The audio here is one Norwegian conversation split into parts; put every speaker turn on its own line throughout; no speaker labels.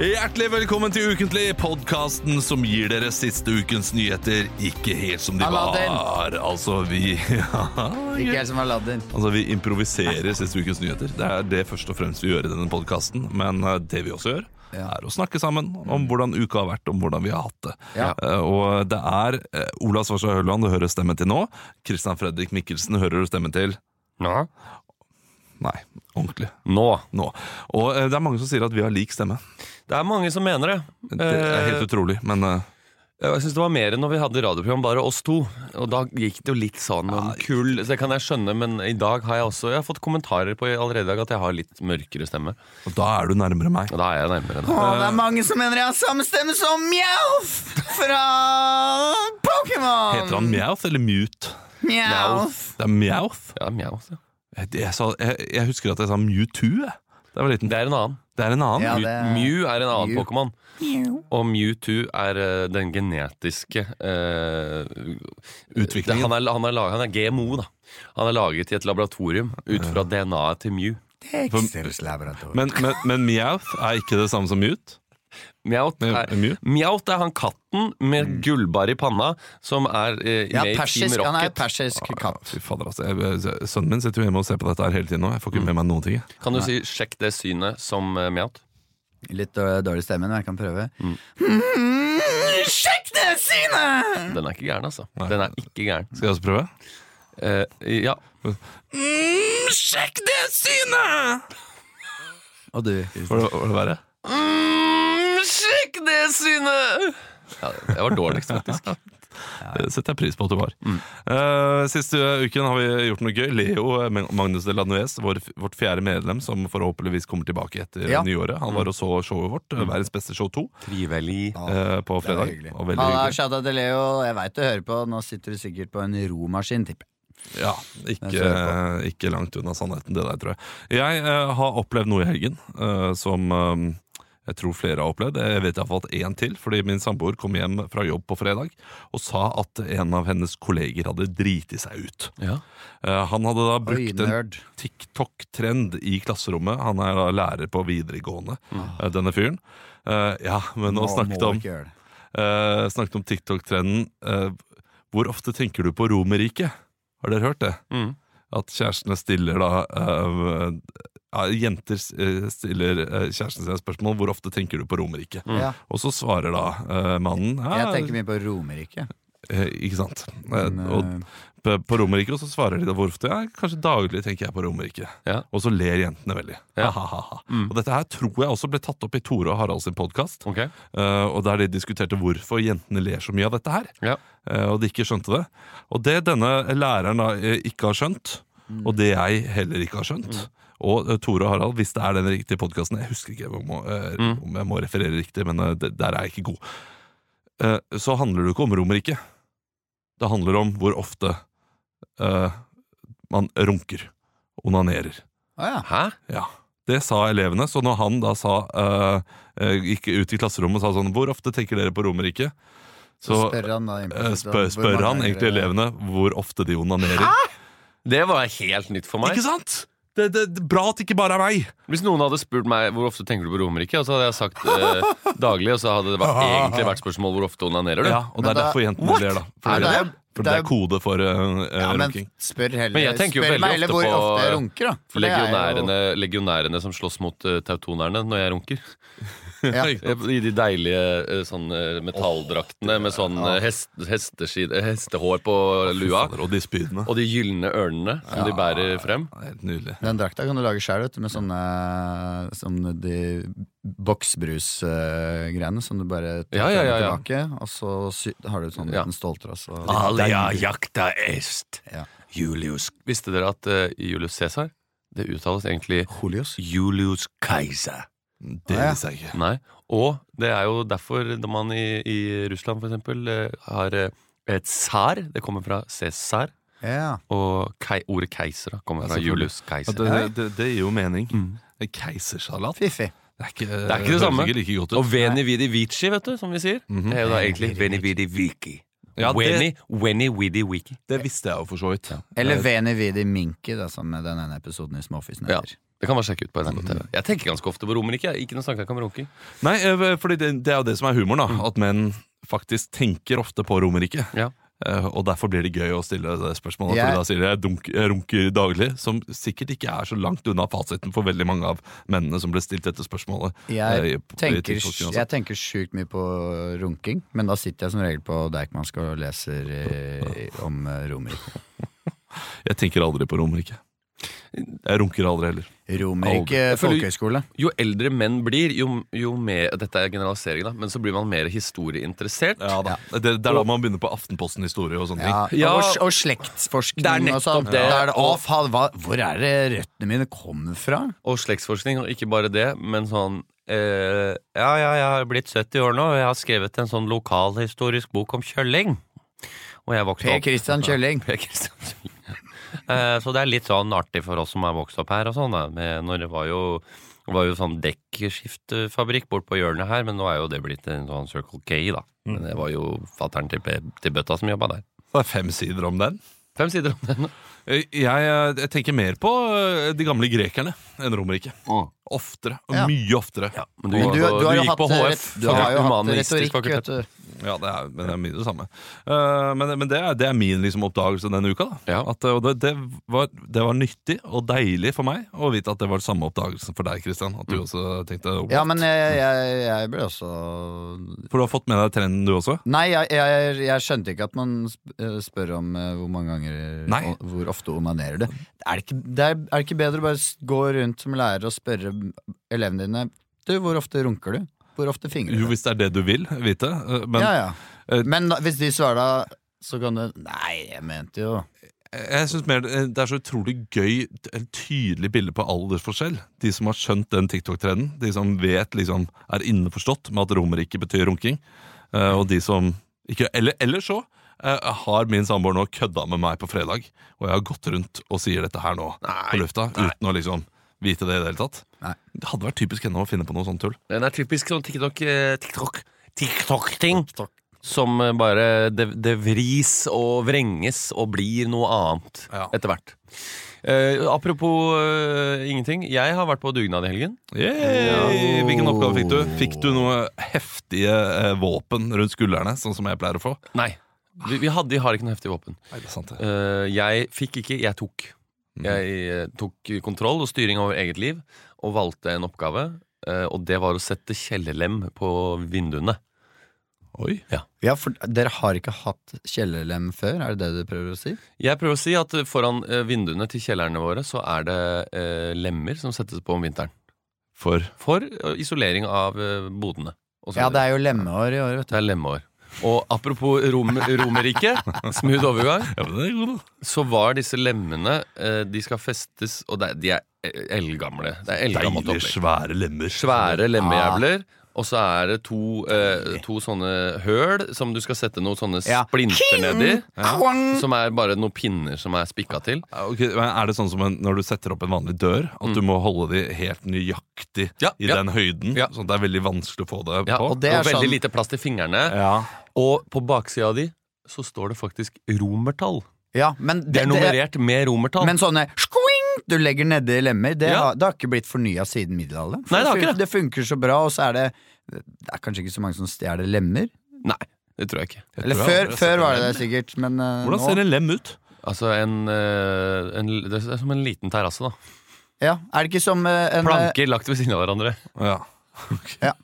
Hjertelig velkommen til Ukentlig, podkasten som gir dere siste ukens nyheter ikke helt som de
Aladdin.
var. Altså, vi
Ikke helt som Aladdin.
Altså, Vi improviserer siste ukens nyheter. Det er det først og fremst vi gjør i denne podkasten. Men eh, det vi også gjør,
Ja.
er å snakke sammen om hvordan uka har vært, om hvordan vi har hatt det.
Ja.
Eh, og det er eh, Ola Svarstad Høland du hører stemmen til nå. Christian Fredrik Mikkelsen hører du stemmen til
Nå?
Nei, ordentlig.
Nå.
Nå. Og eh, det er mange som sier at vi har lik stemme.
Det er mange som mener det.
Det er helt utrolig, men eh,
Eh, Jeg synes det var mer enn når vi hadde radioprogram bare oss to. Og da gikk det jo litt sånn om kull, så det kan jeg skjønne, men i dag har jeg også jeg har fått kommentarer på allerede i dag at jeg har litt mørkere stemme.
og da er du nærmere meg.
Og da er jeg nærmere
Å,
deg.
det er mange som mener jeg har samme stemme som Mjauff fra Pokémon.
Heter han Mjauth eller Mute?
Mjauff?
Det er Mjauth.
Ja, mjau. altså. også.
Jeg, jeg, sa- jeg, jeg husker at jeg sa Mewtwo. jeg. Da jeg var liten.
Det er en annen.
Det er en annen.
Ja, det er-
Mew er en annen
Mew.
Pokémon.
Mjau.
Og Mewtwo er eh, den genetiske eh,
Utviklingen.
Han er, han, er, la- han er GMO, da. Han er laget i et laboratorium ut fra DNA-et til Mew.
Dexters laboratorium.
Men, men, men Mjauth er ikke det samme som Mute?
Mjaut
Mjau-
er,
Mjau?
Mjaut er han katten med
Mm.
gullbar i panna som er eh,
Ja,
med i Team
persisk, han er
Rocket.
persisk katt.
Fy fader, altså. Jeg, sønnen min sitter jo hjemme og ser på dette her hele tiden nå. Jeg får ikke med meg noen ting. jeg.
Kan du si 'sjekk det synet' som eh, Mjaut?
Litt dår- dårlig stemme, men jeg kan prøve. Mm, sjekk det synet!
Den er ikke gæren, altså. Den er ikke gæren.
Skal jeg også prøve?
Eh, ja.
Mm, sjekk det synet!
Og du, Kristian.
Var det, var det verre?
Mm, sjekk det synet! Ja, det var dårligst, faktisk.
Det setter jeg pris på at du var.
Mm.
Eh, siste uken har vi gjort noe gøy. Leo eh, Magnus de Lanuez, vår, vårt fjerde medlem, som forhåpentligvis kommer tilbake etter
Ja. Mm.
nyåret. Han var og så showet vårt, eh, Verdens beste show 2, eh,
Trivelig.
på
Det var
fredag.
hyggelig.
Og veldig
Halla,
hyggelig.
shout-out til Leo. Jeg veit du hører på. Nå sitter du sikkert på en romaskin, tipper jeg.
Ja,
Den
ikke,
ser jeg
ikke langt unna sannheten, det der, tror jeg. Jeg eh, har opplevd noe i helgen eh, som eh, jeg tror flere har opplevd. Jeg vet jeg har fått én til, fordi min samboer kom hjem fra jobb på fredag og sa at en av hennes kolleger hadde driti seg ut.
Ja.
Eh, Han hadde da
Oi,
brukt en
nerd.
TikTok-trend i klasserommet. Han er da lærer på videregående, eh, denne fyren. Eh, ja, men nå,
Ah. må
snakket
du
om,
ikke gjøre det.
eh, snakket om TikTok-trenden. Eh, hvor ofte tenker du på Romerriket? Har dere hørt det?
Mm.
At kjærestene stiller da eh, ja, Jenter s- eh, stiller eh, kjæresten sin spørsmål hvor ofte tenker du på Romerriket.
Ja.
Og så svarer da eh, mannen
Jeg
Ah,
ja,
tenker mye på Romerike.
eh, Ikke sant. Eh,
Men,
og
eh,
på, på Romerike, og så svarer de da hvor ofte. Ja, kanskje daglig tenker jeg på Romerike.
Ja.
Og så ler jentene veldig.
Ja.
Ha, ha, ha, ha. Og dette her tror jeg også ble tatt opp i Tore og Harald sin podkast.
Ok.
Eh, og der de diskuterte hvorfor jentene ler så mye av dette her.
Ja.
eh, og de ikke skjønte det. Og det denne læreren da eh, ikke har skjønt, og det jeg heller ikke har skjønt Og eh, Tore og Harald, hvis det er den riktige podkasten Jeg husker ikke om jeg må, eh, om jeg må referere riktig, men eh, det, der er jeg ikke god. Eh, så handler det jo ikke om Romerike. Det handler om hvor ofte eh, man runker. Onanerer.
Å ja.
Hæ?
Ja, det sa elevene. Så når han da sa eh, eh, gikk ut i klasserommet og sa sånn Hvor ofte tenker dere på Romerike?
Så
Så
spør han da
eh,
implisitt
spør,
om hvor
spør
mange
han
er
egentlig
det-
elevene hvor ofte de onanerer.
Det var helt nytt for meg.
Ikke sant? Det, det, det, bra at det ikke bare er meg!
Hvis noen hadde spurt meg hvor ofte tenker du på Romerike, og så hadde jeg sagt eh, daglig, og så hadde det vært, egentlig vært spørsmål hvor ofte onanerer du.
Ja, og det
Men
er
da-
derfor jentene
What?
ler, da.
Nei,
Fordi,
det er-
det, fordi det
det er-
er kode for uh,
Ja, men
runking.
spør heller,
Men jeg tenker jo
spør
veldig
meg heller
ofte
hvor
på,
ofte jeg
eh,
runker, da. For det er jo-
Legionærene, legionærene som slåss mot eh, tautonerne når jeg runker.
ja.
I de deilige eh, sånn, eh, metalldraktene med sånn eh, hest, hesteski- eh, hestehår på lua.
Fader, Og de spydene.
Og de gylne ørnene som de bærer frem.
Det er Helt nydelig.
Den drakta kan du lage sjøl, vet du, med sånne som de boksbrus-greiene som du bare tar
Ja, ja, ja, ja.
tilbake, og så sy har du et sånn
Ja.
liten ståltråd. Så.
Alia jakta est
Ja.
Julius Visste dere at eh, Julius Cæsar Det uttales egentlig
Julius.
Julius Kaiser.
Det
Ja, ja.
visste jeg ikke.
Nei, og det er jo derfor når man i, i Russland for eksempel eh, har eh, et tsar, det kommer fra Cæsar,
Ja.
og kei, ordet keiser da, kommer
Ja,
fra
selvfølgelig.
Julius
Ja,
Keiser.
det, det, det, det gir jo mening.
Mm.
Keisersalat
Fiffig.
Det er ikke det,
er ikke det samme.
høres ikke like godt ut.
Og veni vidi vici, vet du, som vi sier.
Mhm.
Det er jo da egentlig veni vidi vici.
Ja, det-
Veni, veni vidi wiki.
Det visste jeg jo for så vidt.
Eller Veni Vidi Minki, da, som den ene episoden i Småfisen
Ja. Mhm.
heter.
Det kan man sjekke ut på NRK TV. Jeg tenker ganske ofte på Romerike. jeg. Ikke noe snakk jeg om runking.
Nei, eh, fordi det, det er jo det som er humoren,
Mm.
da. At menn faktisk tenker ofte på Romerike.
Ja.
Eh, Og derfor blir det gøy å stille det spørsmålet.
Jeg-
Fordi da sier de jeg dunk, jeg runker daglig, som sikkert ikke er så langt unna fasiten for veldig mange av mennene som ble stilt dette spørsmålet. eh, i-
Jeg
på- i
tenker,
TikToken og sånn.
jeg tenker sjukt mye på runking, men da sitter jeg som regel på Deichmansk og leser eh, om eh, Romerike.
jeg tenker aldri på Romerike. Jeg runker aldri heller.
Romerike
Jeg føler-
folkehøgskole.
Jo eldre menn blir, jo, jo mer Dette er generalisering, da, men så blir man mer historieinteressert.
Ja da. Det, det er da man begynner på Aftenposten-historie og sånne
Ja,
ting.
Ja.
Og, og slektsforskning
Det er
og sånn.
nettopp det.
Da er det, å, faen, hva, hvor er det røttene mine kommer fra?
Og slektsforskning, og ikke bare det, men sånn eh, Ja, ja, jeg har blitt 70 år nå, og jeg har skrevet en sånn lokalhistorisk bok om kjølling. Og jeg vokste
Per
opp
Christian Kjølling.
Per Kristian Kjølling. Eh, Så det er litt sånn artig for oss som er vokst opp her og sånn. da, med- Når det var jo, det var jo sånn dekkskiftfabrikk bort på hjørnet her, men nå er jo det blitt en sånn Circle K, da.
Mm.
Men det var jo fattern til, Pe- til Bøtta som jobba der.
Det er fem sider om den.
Fem sider om den.
Eh, Jeg, eh, jeg tenker mer på eh, de gamle grekerne enn Romerike. Oftere. og
Ja.
Mye oftere. Ja,
Men
Men
gikk
du,
på-
du har jo
gikk
hatt,
på
eh,
HF.
du har jo hatt
humanistisk
retorikk,
fakultet.
vet du.
det er, men det er mye det samme. Eh, men men det, er, det er min liksom, oppdagelse denne uka. Da.
Ja.
At, eh, og det, det, var, det var nyttig og deilig for meg å vite at det var samme oppdagelsen for deg, Christian. At du også tenkte oh,
Ja, men jeg, jeg, jeg ble også
For du har fått med deg trenden, du også?
Nei, jeg, jeg, jeg skjønte ikke at man sp- eh, spør om eh, hvor mange ganger
Nei.
o- Hvor ofte onanerer du. Er det, ikke, det er, er det ikke bedre å bare s- gå rundt som lærer og spørre mm, elevene dine Du, hvor ofte runker du? Hvor ofte fingrer
Jo,
du?
hvis det er det du vil vite. eh, Men
ja, ja.
eh,
Men da, hvis de svarer da, så kan du Nei, jeg mente jo
Jeg synes mer Det er så utrolig gøy Et tydelig bilde på aldersforskjell De som har skjønt den TikTok-trenden De som vet liksom Er innforstått med at romer ikke betyr runking eh, Og de som ikke Eller, eller så eh, har min samboer nå kødda med meg på fredag Og jeg har gått rundt og sier dette her nå På lufta Uten å liksom vite det i det hele tatt
Nei.
Det hadde vært typisk henne å finne på noe sånt tull
Den er typisk sånn TikTok eh, TikTok TikTok-ting. Som eh, bare det, det vris og vrenges og blir noe annet
Ja.
etter hvert. Eh, apropos eh, ingenting. Jeg har vært på dugnad i helgen.
Yay! Hvilken oppgave fikk du? Fikk du noe heftige eh, våpen rundt skuldrene Sånn som jeg pleier å få?
Nei. Vi, vi, hadde, vi har ikke noe heftig våpen.
Nei, det er sant det
Eh, jeg fikk ikke, jeg tok. Jeg eh, tok kontroll og styring over eget liv og valgte en oppgave. eh, og det var å sette kjellerlem på vinduene.
Oi
ja, for Dere har ikke hatt kjellerlem før, er det det du prøver å si?
Jeg prøver å si at eh, foran eh, vinduene til kjellerne våre så er det eh, lemmer som settes på om vinteren.
For
For eh, isolering av eh, bodene. og så
Ja, det
videre.
er jo lemmeår i år, vet du.
det er lemmeår. Og apropos rom, Romerike, smooth overgang,
Ja, men det er god da
så var disse lemmene eh, De skal festes, og det, er- de er eh, eldgamle. Det er eldgammelt
Deilige,
opplegg.
svære lemmer.
Svære lemmejævler. Og så er det to, eh, to sånne høl som du skal sette noen sånne
Ja.
splinter nedi.
Kvang!
Som er bare noen pinner som er spikka til.
Ja, ok, men er det sånn som en, når du setter opp en vanlig dør, at du må holde de helt nøyaktig
Ja,
i
Mm. ja.
den høyden?
Ja.
Sånn at det er veldig vanskelig å få det
Ja,
på?
og det er veldig
sånn-
lite plass til fingrene.
ja.
Og på baksida di så står det faktisk romertall.
Ja, men
Det er nummerert med romertall.
Men sånne skoing du legger nedi lemmer, det,
Ja.
har, det har ikke blitt fornya siden middelalderen. For
Nei, det har ikke det.
fun- funker så bra, og så er det Det er kanskje ikke så mange som stjeler lemmer.
Nei, det tror jeg ikke.
Jeg
Eller
tror jeg
før,
aldri har sett
før var
en
det det
lem.
sikkert, men eh,
Hvordan
nå
ser en lem ut?
Altså en, eh, en Det er som en liten terrasse, da.
ja, Er det ikke som eh, en eh,
Planker lagt ved siden av hverandre.
Ja.
Eh,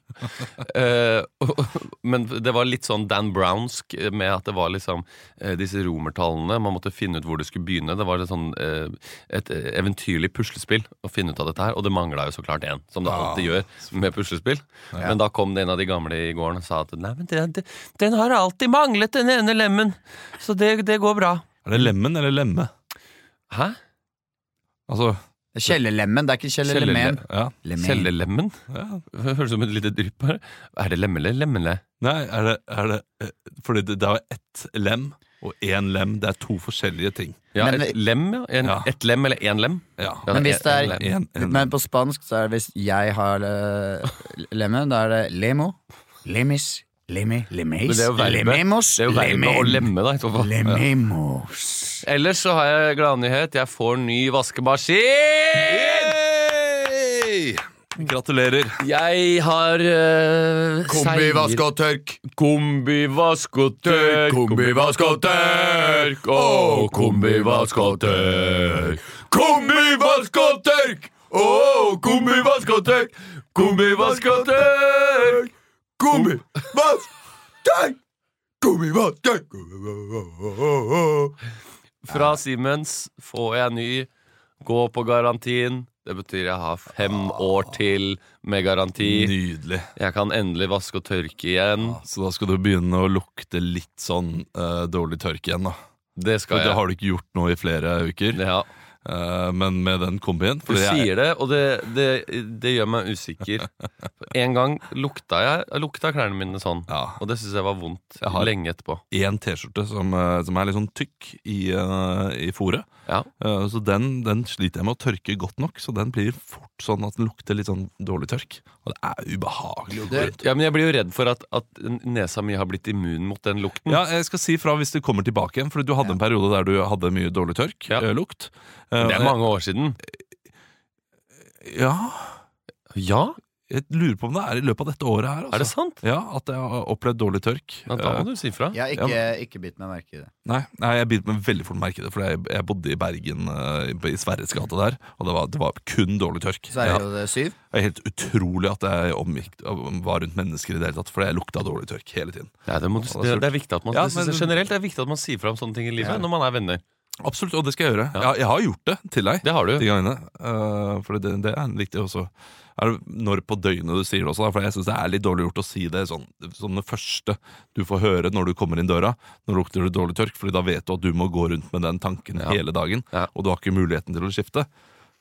og- og- men det var litt sånn Dan Brownsk eh, med at det var liksom eh, disse romertallene. Man måtte finne ut hvor det skulle begynne. Det var litt sånn eh, et eh, eventyrlig puslespill å finne ut av dette her. Og det mangla jo så klart én, som det
Ah.
alltid gjør med puslespill. Men da kom det en av de gamle i gården og sa at nei, men den, den har alltid manglet den ene lemmen. Så det, det går bra.
Er det lemmen eller lemme?
Hæ?
Altså
Kjellerlemmen? Det er ikke kjellerlemmen.
ja.
Lemen.
Cellelemmen?
ja.
Høres ut som et lite drypp her. Er det lemmele? Lemmele?
Nei, er det, er det eh, Fordi det, det er jo ett lem og én lem. Det er to forskjellige ting.
Ja,
Men-
et lem, ja. En,
Ja.
Et lem eller én lem?
Ja.
Ja,
Men hvis det er-
en lem.
En, en,
Men på spansk så er det hvis jeg har eh, lemmen, da er det lemo, lemis, lemi, lemeis,
Men det er jo verbet.
lememos,
Det er jo verbet å lemme, da. i så fall.
lememos.
Ellers så har jeg gladnyhet. Jeg får ny vaskemaskin!
Hei! Gratulerer.
Jeg har uh,
Kombivask og tørk!
Kombivask og tørk, kombivask og tørk, å, kombivask og tørk. Kombivask og tørk, å, kombivask og tørk, kombivask og tørk. Kombivask, tørk, kombivask, tørk. Fra Siemens får jeg ny, gå på garantien. Det betyr jeg har fem år til med garanti.
Nydelig.
Jeg kan endelig vaske og tørke igjen.
Så da skal du begynne å lukte litt sånn eh, dårlig tørk igjen, da.
Det
For
skal
det
jeg.
har du ikke gjort nå i flere uker.
Ja.
Eh, men med den kombien
Du sier det, og det, det, det gjør meg usikker. En gang lukta jeg, jeg lukta klærne mine sånn,
Ja.
og det syns jeg var vondt
Jeg har-
lenge etterpå.
Én T-skjorte som, eh, som er litt sånn tykk i, uh, i fòret.
Ja.
Eh, så den, den sliter jeg med å tørke godt nok, så den blir fort sånn at den lukter litt sånn dårlig tørk. Og det er ubehagelig å gå
Det-
rundt.
Ja, men jeg blir jo redd for at, at nesa mi har blitt immun mot den lukten.
Ja, jeg skal si fra hvis det kommer tilbake igjen, for du hadde en periode der du hadde mye dårlig tørk.
Ja.
eh, lukt.
Det er mange år siden.
Ja,
Ja,
jeg lurer på om det er i løpet av dette året her. Altså.
er det sant?
Ja, at jeg har opplevd dårlig tørk.
Ja, da
Eh,
må du si fra.
Jeg har
Ja,
ikke, ikke bitt meg merke i det.
Nei, nei, jeg begynte med veldig fort å merke det, for jeg, jeg bodde i Bergen, eh, i- i Sverres gate der, og det var, det var kun dårlig tørk.
Så er
Ja.
det jo det syv.
Det er helt utrolig at jeg omgikk, var rundt mennesker i det hele tatt, for jeg lukta dårlig tørk hele tiden.
Ja, det, må du,
Ja, det
det,
er
det er viktig at man
Ja,
det synes
men-
jeg generelt det er viktig at man sier fra om sånne ting i livet
Ja.
når man er venner.
Absolutt, og det skal jeg gjøre.
Ja.
Jeg, jeg har gjort det til deg.
Det har du.
De gangene. eh, for det, det er viktig også. Er det når på døgnet du sier det også, da, for jeg syns det er litt dårlig gjort å si det sånn, som det første du får høre når du kommer inn døra. Nå lukter det dårlig tørk, Fordi da vet du at du må gå rundt med den tanken
Ja.
hele dagen.
Ja.
Og du har ikke muligheten til å skifte.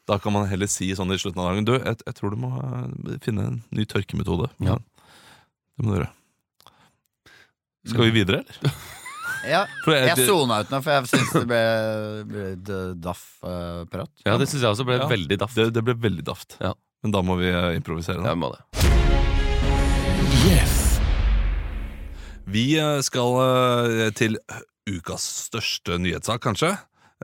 Da kan man heller si sånn i slutten av dagen Du, jeg, jeg tror du må eh, finne en ny tørkemetode.
Ja.
Det må du gjøre. Skal vi videre, eller?
Ja,
For
Eh,
jeg sona ut nå, for jeg syns det ble, ble d- daff eh, prat.
Ja, det syns jeg også ble
Ja.
veldig daft.
det, det ble veldig daft.
Ja.
Men da må vi eh, improvisere. Da.
Jeg må det.
Vi eh, skal eh, til ukas største nyhetssak, kanskje.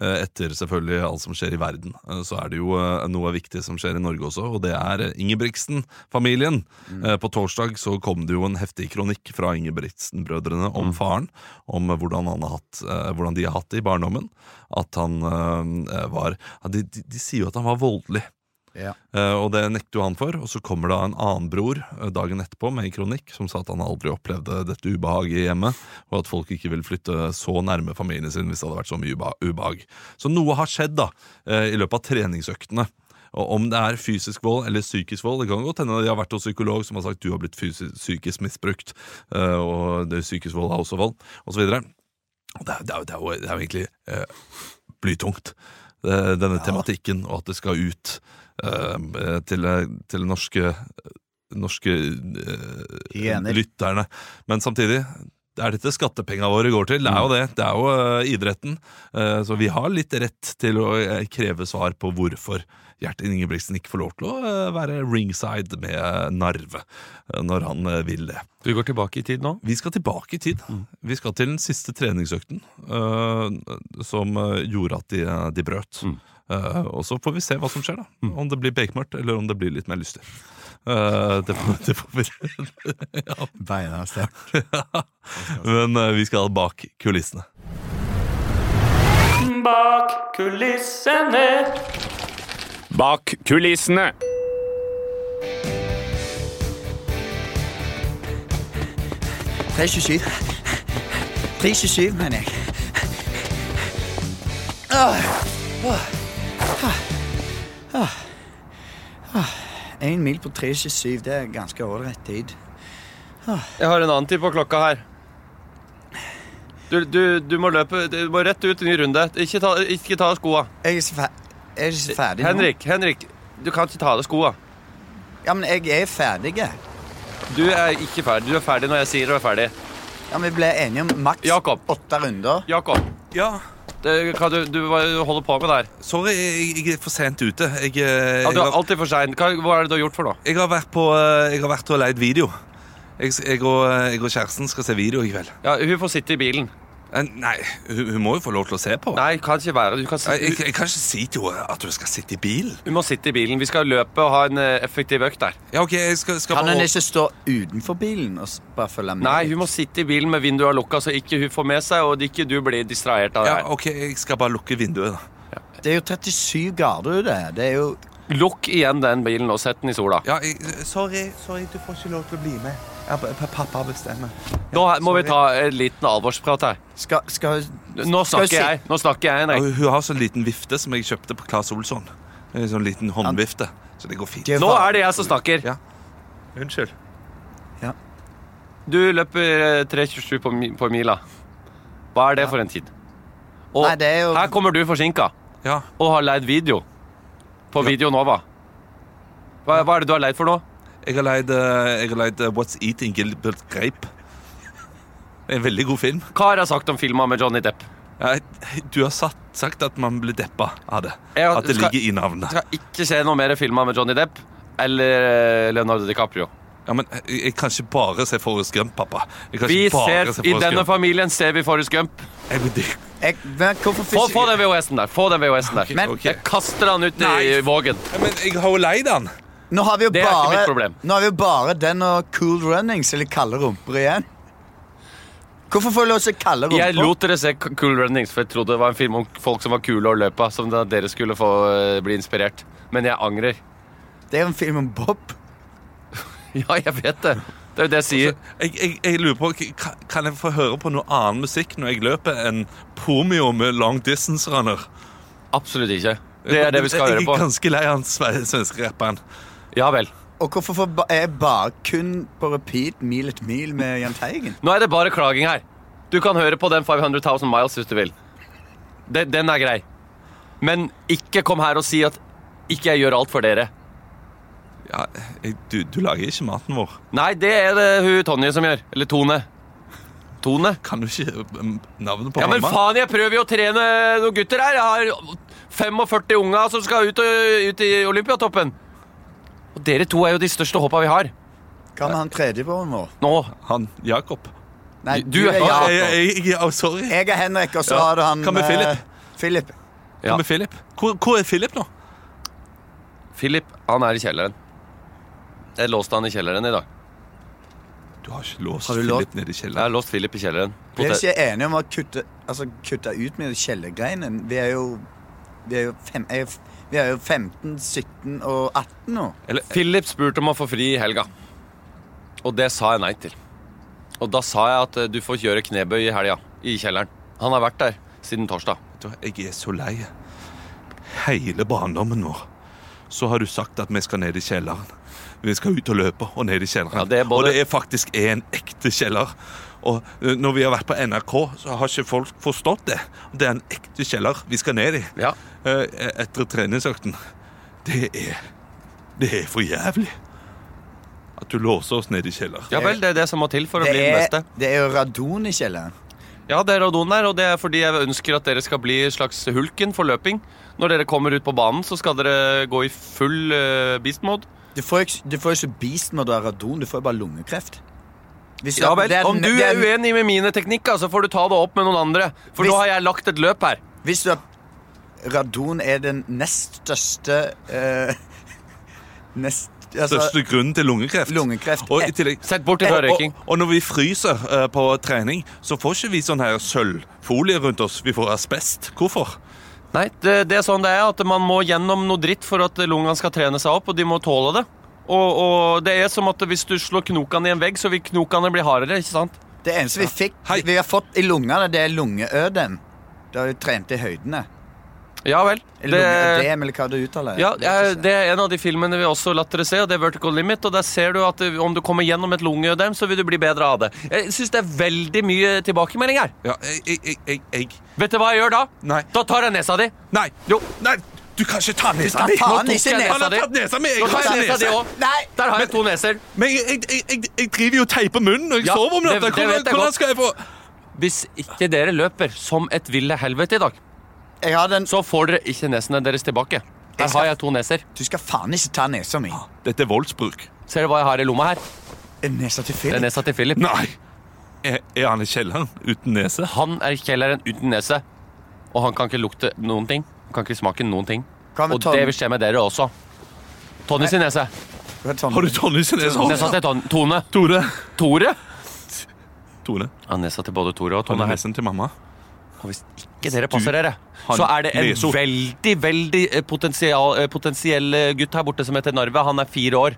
Eh, Etter selvfølgelig alt som skjer i verden, eh, så er det jo eh, noe viktig som skjer i Norge også, og det er eh, Ingebrigtsen-familien.
Mm.
Eh, På torsdag så kom det jo en heftig kronikk fra Ingebrigtsen-brødrene
Mm.
om faren, om eh, hvordan, han har hatt, eh, hvordan de har hatt det i barndommen. At han eh, var ja, de, de, de sier jo at han var voldelig.
Ja.
Eh, Og det nekter jo han for. Og så kommer da en annen bror eh, dagen etterpå med en kronikk som sa at han aldri opplevde dette ubehaget i hjemmet, og at folk ikke vil flytte så nærme familien sin hvis det hadde vært så mye uba- ubehag. Så noe har skjedd da, eh, i løpet av treningsøktene. Og Om det er fysisk vold eller psykisk vold Det kan godt hende de har vært hos psykolog som har sagt du har blitt fysi- psykisk misbrukt, eh, og det psykisk vold er også vold, osv. Det, er- det, er jo- det, er jo- det er jo egentlig eh, blytungt, eh, denne tematikken, og at det skal ut eh, til, til norske norske eh,
Hyener.
lytterne. Men samtidig det er dette skattepenga våre går til. Det er jo det. Det er jo eh, idretten. Eh, så vi har litt rett til å eh, kreve svar på hvorfor Gjertin Ingebrigtsen ikke får lov til å eh, være ringside med eh, Narve eh, når han eh, vil det.
Vi går tilbake i tid nå.
Vi skal tilbake i tid.
Mm.
Vi skal til den siste treningsøkten eh, som eh, gjorde at de, de brøt.
Mm.
Eh, og så får vi se hva som skjer, da. Om det blir bekmørkt, eller om det blir litt mer lystig. Eh, det, får- det får vi
Beina sterkt.
Men eh, vi skal bak kulissene.
Bak kulissene.
Bak kulissene.
Det er 27. 327, mener jeg. Ah. Én Ah. mil på 327, det er ganske ålreit tid.
Jeg har en annen tid på klokka her. Du, du, du må løpe du må rett ut i ny runde. Ikke ta, ikke ta av skoa.
Jeg er så fe- jeg er så ferdig nå.
Henrik, Henrik, du kan ikke ta av deg skoa.
Ja, men jeg er ferdig. jeg.
Du er ikke ferdig. Du er ferdig når jeg sier du er ferdig.
Ja, Vi ble enige om maks
Jakob.
åtte runder.
Jakob,
Ja,
det, hva du, du hva du holder på med der?
sorry, jeg, jeg er for sent ute. Jeg, eh,
Ja,
jeg,
du er
har,
alltid for sein. Hva, hva er det du har gjort for noe?
jeg, har vært på, eh, jeg har vært og leid video. Jeg, jeg, og, jeg og eh, kjæresten skal se video i kveld.
Ja, hun får sitte i bilen.
Eh, Nei, hun, hun må jo få lov til å se på. Eh,
Nei, kan ikke være du kan, si-
Jeg, jeg, jeg kan ikke si til henne at hun skal sitte i bilen.
Du må sitte i bilen. Vi skal løpe og ha en eh, effektiv økt der.
Ja, ok, jeg skal, skal
Kan hun
bare-
ikke stå utenfor bilen og s- bare følge med?
Nei, hun må sitte i bilen med vinduet lukka, så ikke hun får med seg, og ikke du blir distrahert av det
Ja,
her.
ok, jeg skal bare lukke vinduet, da.
Det er jo 37 grader ute. Det er jo
Lukk igjen den bilen og sett den i sola.
Ja, jeg, sorry, sorry, du får ikke lov til å bli med. Ja, pa- pa- pappa bestemmer.
Nå her må vi ta en liten alvorsprat her.
Skal, skal hun
Nå
skal hun
snakker jeg, nå snakker jeg,
Ja,
Henrik.
hun- hun har sånn liten vifte som jeg kjøpte på Claes Olsson. En sånn liten håndvifte. Så det går fint.
Det er
Nå
faen-
er det jeg som snakker.
Ja. Unnskyld.
Du løper eh, 3.27 på, mi- på mila. Hva er det for en tid? Og
Nei, det er jo-
her kommer du forsinka
Ja,
og har leid video på Video Nova. Hva, hva er det du har leid for nå?
jeg har leid, eh, jeg har leid eh, What's Eating Gilbert Grape. En veldig god film.
Hva har jeg sagt om filma med Johnny Depp?
Ja, du har satt, sagt at man blir deppa av det.
Ja,
At det
skal-
ligger i navnet.
Jeg skal ikke se noe mer filma med Johnny Depp eller eh, Leonardo DiCaprio.
Ja, men jeg, jeg kan ikke bare se Forrest Gump, pappa. Jeg kan
Vi
ikke bare
ser,
se
I
Forrest
denne
Gump.
familien ser vi Forrest Gump.
Jeg blir dyr.
Jeg, men hvorfor
Få,
finnes-
få den VHS-en der. Få den VHS-en der.
Men-
Ok.
Jeg kaster den ut i
Nei.
vågen.
Ja, men jeg har jo leid den.
Nå har vi jo
Det er ikke mitt
bare,
problem.
nå har vi jo bare den og Cool Runnings, eller Kalde rumper, igjen. Hvorfor får vi lov til å se kalde rumper?
Jeg lot dere se Cool Runnings, for jeg trodde det var en film om folk som var kule og løpa. Som da dere skulle få eh, bli inspirert. Men jeg angrer.
Det er jo en film om Bob.
Ja, jeg vet det. Altså, Det er jo det jeg sier.
Jeg, jeg, jeg lurer på, ka- Kan jeg få høre på noe annen musikk når jeg løper enn Pomio med Long Distance Runner?
Absolutt ikke. Det er det vi skal høre
Jeg er
på.
ganske lei av den sve- svenske rapperen.
Ja vel.
Og hvorfor får ba- er bare kun på repeat Mil et mil med Jahn Teigen?
Nå er det bare klaging her. Du kan høre på den 500 000 miles hvis du vil. Den, den er grei. Men ikke kom her og si at ikke jeg gjør alt for dere.
Ja, jeg, du, du lager ikke maten vår.
Nei, det er det hun Tonje som gjør. Eller Tone. Tone?
Kan du ikke mm, navnet på
Ja, men
mamma?
faen, jeg prøver jo å trene noen gutter her. Jeg har 45 unger som skal ut, og, ut i Olympiatoppen. Og dere to er jo de største håpa vi har.
Hva med han tredje broren vår?
Nå.
Han Jakob.
Nei,
Du er-
Ja,
Jakob.
jeg, jeg, jeg, ja, sorry.
Jeg er Henrik, og så
Ja.
har du han
Hva med
eh,
Philip?
Philip.
Hva med Philip? Hvor, hvor er Philip nå?
Philip, han er i kjelleren. Jeg låste han i kjelleren i dag.
Du har ikke låst
Har du låst?
Philip nede i
Jeg har
kjelleren.
låst Philip i kjelleren.
Vi er ikke enige om å kutte, altså, kutte ut med kjellergreiene. Vi er jo, vi er jo, fem, jeg, er f- vi er jo 15, 17 og 18 nå.
Eller,
Philip spurte om å få fri i helga. Og det sa jeg nei til. Og da sa jeg at eh, du får kjøre knebøy i helga. I kjelleren. Han har vært der siden torsdag.
Vet du hva, Jeg er så lei. Hele barndommen vår så har du sagt at vi skal ned i kjelleren. Vi skal ut og løpe og ned i kjelleren.
Ja, det er både-
Og det er faktisk en ekte kjeller. Og eh, når vi har vært på NRK, så har ikke folk forstått det. Det er en ekte kjeller vi skal ned i
Ja.
eh, etter treningsøkten. Det er Det er for jævlig. At du låser oss ned i kjeller.
ja vel, det er det som må til for å
Det
bli den
er,
beste.
det er jo radon i kjelleren.
Ja, det er radon her, og det er fordi jeg ønsker at dere skal bli slags hulken for løping. Når dere kommer ut på banen, så skal dere gå i full eh, beast mode.
Du får jo ikke, du får jo ikke beast når du har radon, du får jo bare lungekreft. Hvis
Ja vel,
det er-
Om du
det
er uenig med mine teknikker, så får du ta det opp med noen andre. For nå
Hvis-
har jeg lagt et løp her.
Hvis du har Radon er den nest største eh, Nest altså,
Største grunnen til lungekreft.
Lungekreft.
Og i tillegg
Sett bort ifra
Eh,
Og,
røyking.
og, og når vi fryser eh, på trening, så får ikke vi sånn her sølvfolie rundt oss. Vi får asbest. Hvorfor?
Nei, det, det er sånn det er, at man må gjennom noe dritt for at lungene skal trene seg opp, og de må tåle det. Og, og det er som at hvis du slår knokene i en vegg, så vil knokene bli hardere, ikke sant?
Det eneste vi fikk
Hei.
Vi har fått i lungene, det er lungeødem. Da vi trente i høydene.
Ja vel.
Eller lungeødem, eller hva du uttaler.
Ja,
Jeg vet
eh,
ikke.
det er en av de filmene vi også latt dere se, og det er Vertical Limit. Og der ser du at eh, om du kommer gjennom et lungeødem, så vil du bli bedre av det. Jeg syns det er veldig mye tilbakemelding her.
Ja, jeg, jeg, jeg, jeg, jeg.
Vet du hva jeg gjør da?
Nei.
Da tar jeg nesa di.
Nei.
Jo.
Nei! Du kan ikke ta nesa
skal
mi!
ta
Nå
han
tok
ikke
jeg-
nesa
Han har
di.
tatt nesa mi!
Nå
Jeg
tar
har
jeg nesa di
nese.
òg.
Nei!
Der har jeg to neser.
Men jeg, jeg, jeg, jeg, jeg driver jo og teiper munnen når jeg
Ja,
sover om
det-
natta.
det
Hvordan,
vet jeg
hvordan
godt.
skal jeg få
Hvis ikke dere løper som et ville helvete i dag,
Jeg har den
så får dere ikke nesene deres tilbake.
Jeg
Her
skal-
har jeg to neser.
Du skal faen ikke ta nesa mi.
Dette er voldsbruk.
Ser du hva jeg har i lomma her?
Nesa til
Det er
Philip.
nesa til Philip.
Nei! Er, er han i kjelleren uten nese?
Han er kjelleren uten nese, og han kan ikke lukte noen ting. Han kan ikke smake noen ting.
Kan vi
Og
ta
det
den-
vil skje med dere også. Tony sin nese.
Hva er tann-
Har du Tonje sin nese?
Nesa til Ton Tone.
Tore.
Tore?
Tore.
Ja, nesa til både Tore og
Har du
Tone. her.
nesen til mamma?
Og hvis ikke dere passer dere,
han
så er det en
leser opp.
veldig, veldig eh, potensial, eh, potensiell eh, gutt her borte som heter Narve. Han er fire år.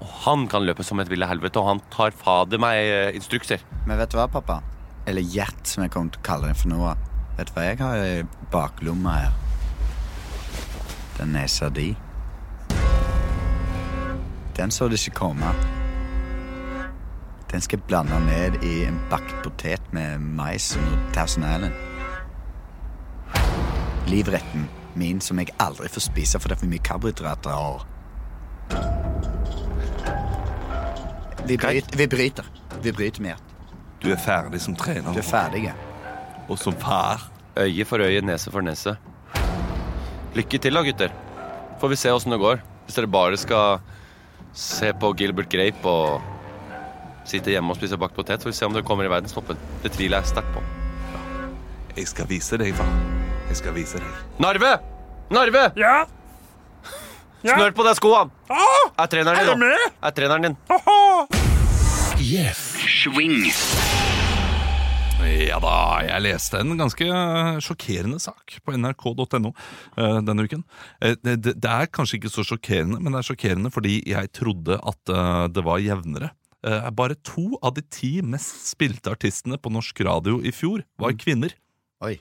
Og han kan løpe som et ville helvete, og han tar fader meg eh, instrukser.
Men vet du hva, pappa? Eller Gjert, som jeg kommer til å kalle den for nå. av. Vet du hva jeg har i baklomma her? Den nesa di. Den så du ikke komme. Den skal jeg blande ned i en bakt potet med mais og noe Thousand Island. Livretten min som jeg aldri får spise, for det er for mye karbohydrater. og- Vi bryter. Vi bryter, vi bryter med Gjert.
Du er ferdig som trener
Du er ferdig.
og som far.
Øye for øye, nese for nese. Lykke til da, gutter. Får vi se åssen det går. Hvis dere bare skal se på Gilbert Grape og sitte hjemme og spise bakt potet, så får vi se om dere kommer i verdenstoppen. Det tviler jeg sterkt på.
Jeg skal vise deg, far. Jeg skal vise deg.
Narve! Narve!
Ja? Ja?
Snør på deg skoene!
Ah,
Er treneren din
er du
nå?
med?
Er treneren din.
Haha!
Ja da, jeg leste en ganske eh, sjokkerende sak på nrk.no eh, denne uken. Eh, Det, det det er kanskje ikke så sjokkerende, men det er sjokkerende fordi jeg trodde at eh, det var jevnere. Eh, Bare to av de ti mest spilte artistene på norsk radio i fjor var kvinner.
Mm. Oi.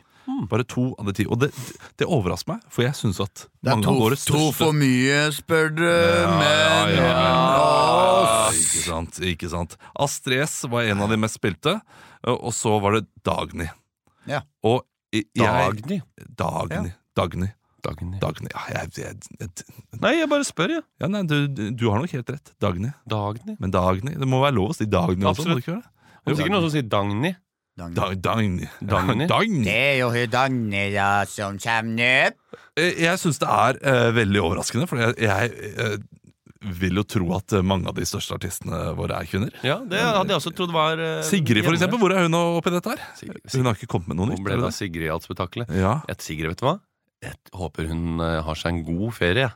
Bare to av de ti. Og det, det overrasker meg, for jeg syns at
Det er
mange
to,
av våre største
to for mye, spør du,
ja,
men
ja, ja.
Åh,
Ikke sant, ikke sant. Astrid S var en av de mest spilte, og så var det Dagny.
Ja.
Og i- jeg
Dagny.
Dagny. Dagny.
Dagny.
Dagny. Ja, jeg, jeg, jeg,
Nei, jeg bare spør, jeg.
ja, nei, du, du har nok helt rett. Dagny.
Dagny.
Men Dagny Det må være lov å si Dagny også? må det ikke være det?
Det er sikkert noen som sier Dagny.
Da, Dagny.
Dagny?
Dagny.
er jo Hydannia som kommer opp.
Eh, Jeg syns det er eh, veldig overraskende, for jeg, jeg eh, vil jo tro at eh, mange av de største artistene våre er kvinner.
Ja, det hadde jeg også trodd var eh,
Sigrid, for
hjemme.
eksempel. Hvor er hun oppi dette her?
Sigrid,
Hun
Sigrid.
har ikke kommet med noe
Hvor
nytt.
ble
eller
det
det?
av Sigrid i alt spetakkelet?
Ja,
Et Sigrid, vet du hva? Jeg håper hun eh, har seg en god ferie.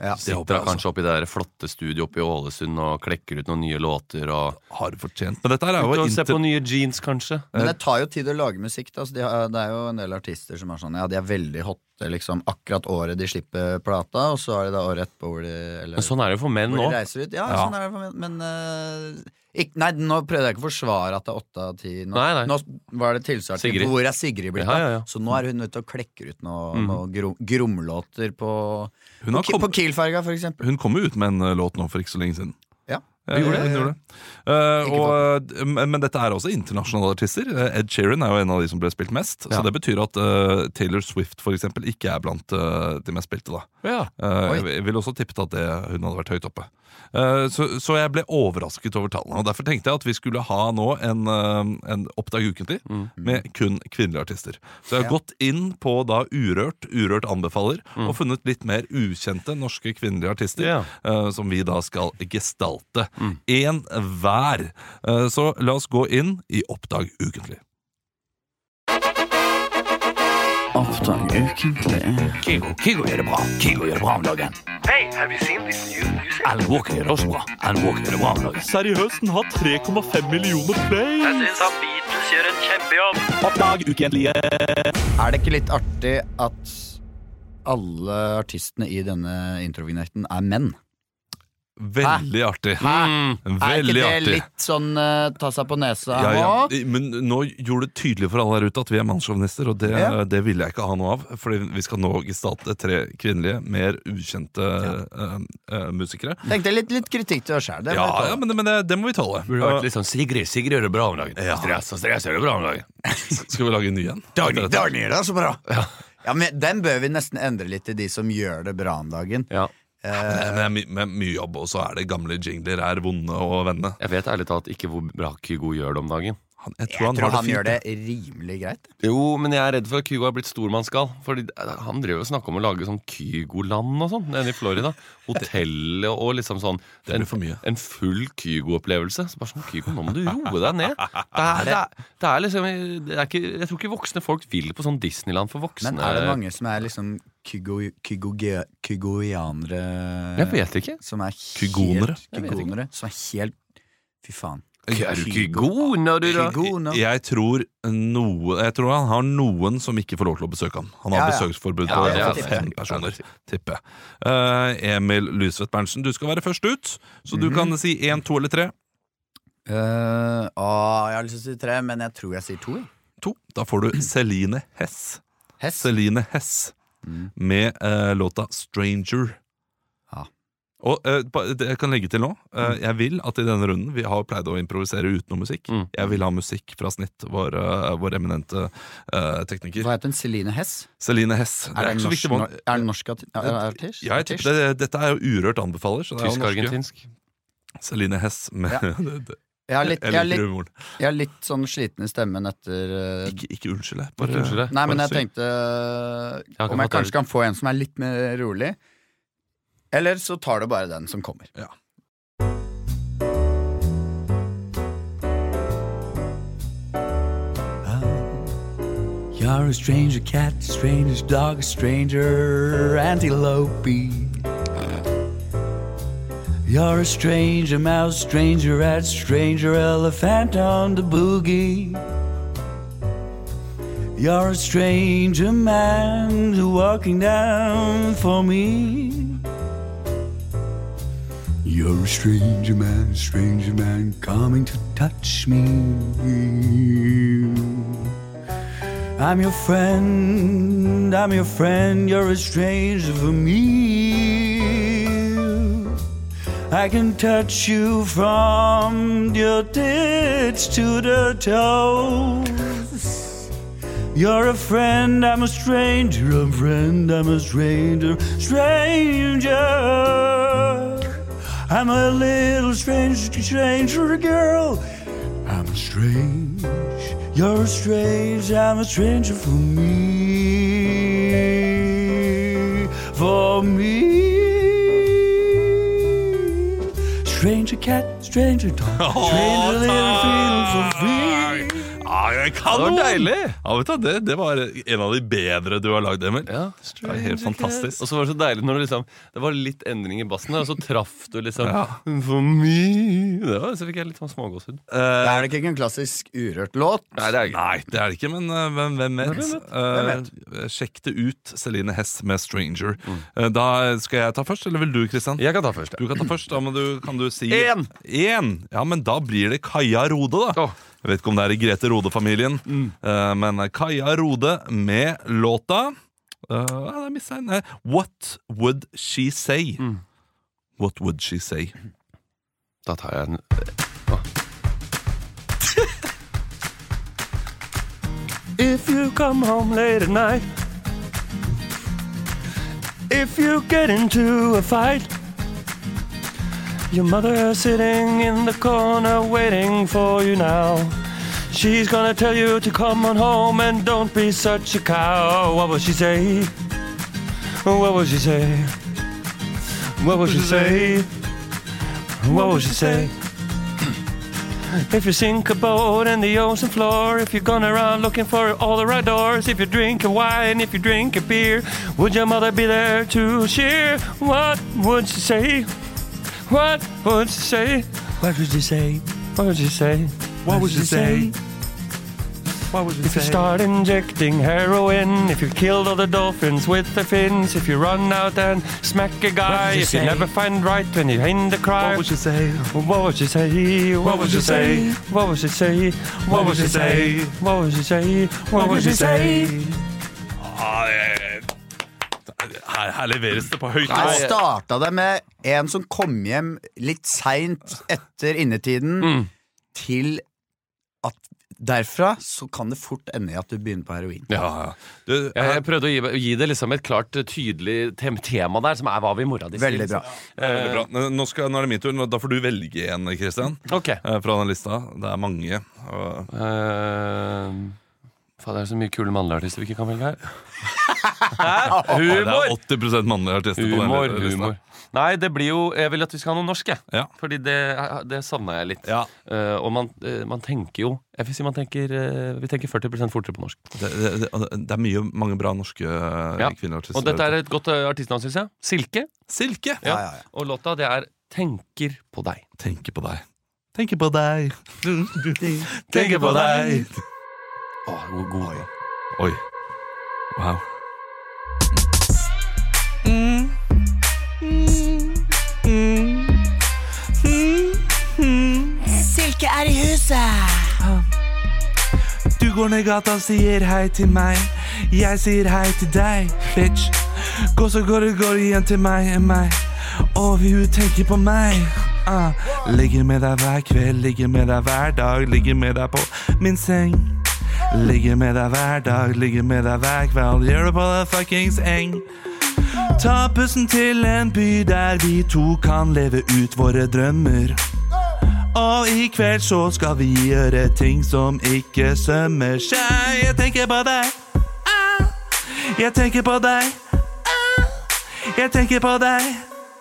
Ja,
Sitter
håper jeg også.
kanskje oppe i det der flotte studioet oppe i Ålesund og klekker ut noen nye låter. Og,
har du fortjent. Men dette her er
Ut
jo
og se
inter...
på nye jeans, kanskje.
Men det tar jo tid å lage musikk. Da. så De har, det er jo en del artister som er sånn Ja, de er veldig hotte liksom, akkurat året de slipper plata, og så er det da året etterpå hvor de eller,
Men sånn er det jo for menn
hvor
nå.
de reiser ut. Ja,
Ja.
sånn er det. for meg, Men eh, ikk- Nei, nå prøvde jeg ikke å forsvare at det er åtte av ti. Nå,
Nei, nei.
nå var det tilsvart til
Sigrid.
hvor er Sigrid blitt
Ja,
av.
ja, ja.
Så nå er hun ute og klekker ut noe, noe grom, gromlåter på,
Hun
på,
har
Ki-
kommet-
på Kiel-ferga, for eksempel.
Hun kom jo ut med en eh, låt nå for ikke så lenge siden.
Ja.
Ja,
Gjorde
hun
det?
gjorde det. Eh, og, eh, men men dette er også internasjonale artister. Eh, Ed Sheeran er jo en av de som ble spilt mest.
Ja.
Så det betyr at eh, Taylor Swift for eksempel, ikke er blant eh, de mest spilte. da
Ja.
Eh,
Oi.
jeg, jeg ville også tippet at det, hun hadde vært høyt oppe. Eh, så, så jeg ble overrasket over tallene. Og Derfor tenkte jeg at vi skulle ha nå en, eh, en Oppdag ukentlig med kun kvinnelige artister. Så jeg har
Mm. Ja. Mm.
gått inn på da Urørt, Urørt anbefaler, og funnet litt mer ukjente norske kvinnelige artister.
Ja.
eh, som vi da skal gestalte.
Mm.
Én hver. Eh, så la oss gå inn i Oppdag ukentlig.
Er det ikke litt artig at alle artistene i denne introvignetten er menn?
Veldig artig.
Mm.
Er ikke
Veldig
det
artig.
litt sånn eh, ta seg på nesa?
Ja,
og-
ja. Men nå gjorde det tydelig for alle der ute at vi er mannssjåvinister, og det,
Ja.
det ville jeg ikke ha noe av. Fordi vi skal nå gestalte tre kvinnelige, mer ukjente eh, eh, musikere.
Tenkte litt, litt kritikk til oss sjæl.
Ja, ja, men, det- men det, det må vi tåle.
Burde vært
Eh,
litt sånn Sigrid, Sigrid gjør det bra om dagen.
Ja.
Stress og stress gjør det bra om dagen.
skal vi lage en ny en?
gjør det så bra! Ja. men Den bør vi nesten endre litt til de som gjør det bra om dagen.
Ja.
Men det er my- med mye jobb, og så er det gamle jingler er vonde og vennene.
Jeg vet ærlig talt ikke hvor bra Kygo gjør det om dagen.
Han, jeg tror
Jeg
han
tror
har
han
det fint.
gjør det rimelig greit.
Jo, men jeg er redd for at Kygo har blitt stor man skal. Fordi eh, han driver og snakker om å lage sånn Kygoland og sånn nede i Florida. Hotell og liksom sånn.
Det blir for mye.
en full Kygo-opplevelse. Så bare sånn, Kygo, nå må du roe deg ned. Det er, det er, det er liksom det er ikke, Jeg tror ikke voksne folk vil på sånn Disneyland for voksne.
Men er det mange som er liksom kygo- kygoge- kygoianere
Jeg vet ikke.
Som er
Kygonere?
helt
Jeg vet ikke.
Kygonere? Som er helt Fy faen.
Er du Kygo når du da
Kygoner.
Jeg tror, noe, jeg tror han har noen som ikke får lov til å besøke ham. Han har
Ja, ja.
besøksforbud
Ja,
på
det
ja,
er
fem
sant.
personer, tipper jeg. Eh, Emil Lysvedt Berntsen, du skal være først ut, så du kan si én, to eller tre.
Eh, å, jeg har lyst til å si tre, men jeg tror jeg sier to. jeg.
To. Da får du Celine Hess.
Hess.
Celine Hess med eh, låta 'Stranger'.
Ja.
Og eh, ba- det jeg kan legge til nå eh, Jeg vil at i denne runden Vi har pleid å improvisere uten noe musikk.
Mm.
Jeg vil ha musikk fra Snitt, vår, eh, vår eminente eh, tekniker.
Hva heter hun? Celine Hess?
Celine Hess.
Er
ikke
det en
så
norsk,
viktig hva-
nor- er det en norsk arti- ja, er det artist?
Ja, jeg
Artist?
tipper det, dette er jo urørt anbefaler. Så det er jo norske.
Tysk-argentinsk.
Celine Hess med
Ja. Jeg er litt,
Jeg
jeg er
liker
litt,
humoren.
jeg er litt sånn sliten i stemmen etter eh,
Ikke, ikke unnskyld, jeg.
Bare
Bare,
unnskyld deg.
Nei, men
bare
jeg
syng.
tenkte
har ikke
eh, om jeg
fått det.
kanskje kan få en som er litt mer rolig. Eller så tar du bare den som kommer.
Ja.
You're a stranger cat, a stranger's dog, a stranger antelope. You're a stranger mouse, stranger rat, stranger elephant on the boogie. You're a stranger man who walking down for me. You're a stranger man, stranger man coming to touch me. I'm your friend, I'm your friend, you're a stranger for me. I can touch you from your tits to the toes. You're a friend, I'm a stranger, a friend, I'm a stranger, stranger. I'm a little stranger, stranger girl. I'm strange, you're strange, I'm a stranger for me. For me. Stranger cat, stranger dog, stranger little feeling for me.
Ah, jeg kan
Det var
noen!
deilig!
Ja, vet du, det, det var en av de bedre du har lagd, Emil.
Ja,
Det er helt fantastisk.
Og så var det så deilig når det liksom Det var litt endring i bassen der, og så traff du liksom
Ja.
For me det var, Så fikk jeg litt sånn smågåshud.
Det er ikke en klassisk urørt låt.
Nei, det er gøy.
Nei, det er det ikke, men eh, hvem, hvem vet? Eh, sjekk det ut. Celine Hess med 'Stranger'.
Mm.
Eh, da skal jeg ta først, eller vil du, Kristian?
Jeg kan ta først.
Du kan ta først, da men du, kan du si
En.
En. Ja, men da blir det Kaja Rode, da.
Åh. Mm.
Jeg vet ikke om det er i Grete Rode-familien, eh, men Kaja Rode med låta Eh, ja, der mistet jeg en. Eh, What Would She Say?
Mm.
What Would She Say?
Da tar jeg en If you come home late at night If you get into a fight Your mother sitting in the corner waiting for you now She's gonna tell you to come on home and don't be such a cow What will she say? What will she say? What will she say? What would you say? If you sink a boat in the ocean floor, if you're going around looking for all the right doors, if you drink a wine, if you drink a beer, would your mother be there to cheer? What would she say? What would she say? What would you say? What would you say? What would you say? If you start injecting heroin, if you killed all the dolphins with their fins, if you run out and smack a guy, if you never find right when you end the cry, what would you say? What would you say? What would you say? What would you say? What would you say? What would you say? What would you say?
Ah, eh, her, her leveres det på høyt nivå.
Her starta det med en som kom
Mm.
hjem litt seint etter innetiden, til at
Derfra så kan det fort ende i at du begynner på heroin.
Ja, ja. Du,
Jeg,
eh,
jeg prøvde å gi, gi det liksom et klart, tydelig tem tema der, som er hva vi mora di
Veldig bra.
eh, veldig bra. Nå- Nå, skal, nå er det min tur. Nå- Da får du velge en, Kristian.
Ok.
eh, Fra den lista. Det er mange. og-
Eh, faen, det er så mye kule mannlige artister vi ikke kan velge her.
Det
humor!
er 80 mannlige artister på
Humor,
den li- lista.
humor. Nei, det blir jo Jeg vil at vi skal ha noe norsk, jeg.
Ja.
Fordi det, det savna jeg litt.
Ja,
Eh, og man, eh, man tenker jo Jeg vil si man tenker eh, Vi tenker 40 fortere på norsk.
det, det, det, det er mye, mange bra norske eh,
Ja.
kvinneartister.
Og dette er et godt eh, artistnavn, syns jeg. Silke.
Silke!
Ja, ja, ja.
Og låta det er 'Tenker på deg'.
Tenker på deg. Tenker på deg.
Tenker på deg. Åh, god, god.
Oi. Wow.
Silke er i huset.
Du går ned gata og sier hei til meg. Jeg sier hei til deg, bitch. Gå så går det, går det igjen til meg, meg. Og hun tenker på meg. Ah. Ligger med deg hver kveld, ligger med deg hver dag, ligger med deg på min seng. Ligger med deg hver dag, ligger med deg hver kveld, gjør det på deg fuckings eng. Ta bussen til en by der vi to kan leve ut våre drømmer. Og i kveld så skal vi gjøre ting som ikke sømmer seg. Jeg tenker på deg. Ah. Jeg tenker på deg. Ah. Jeg tenker på deg.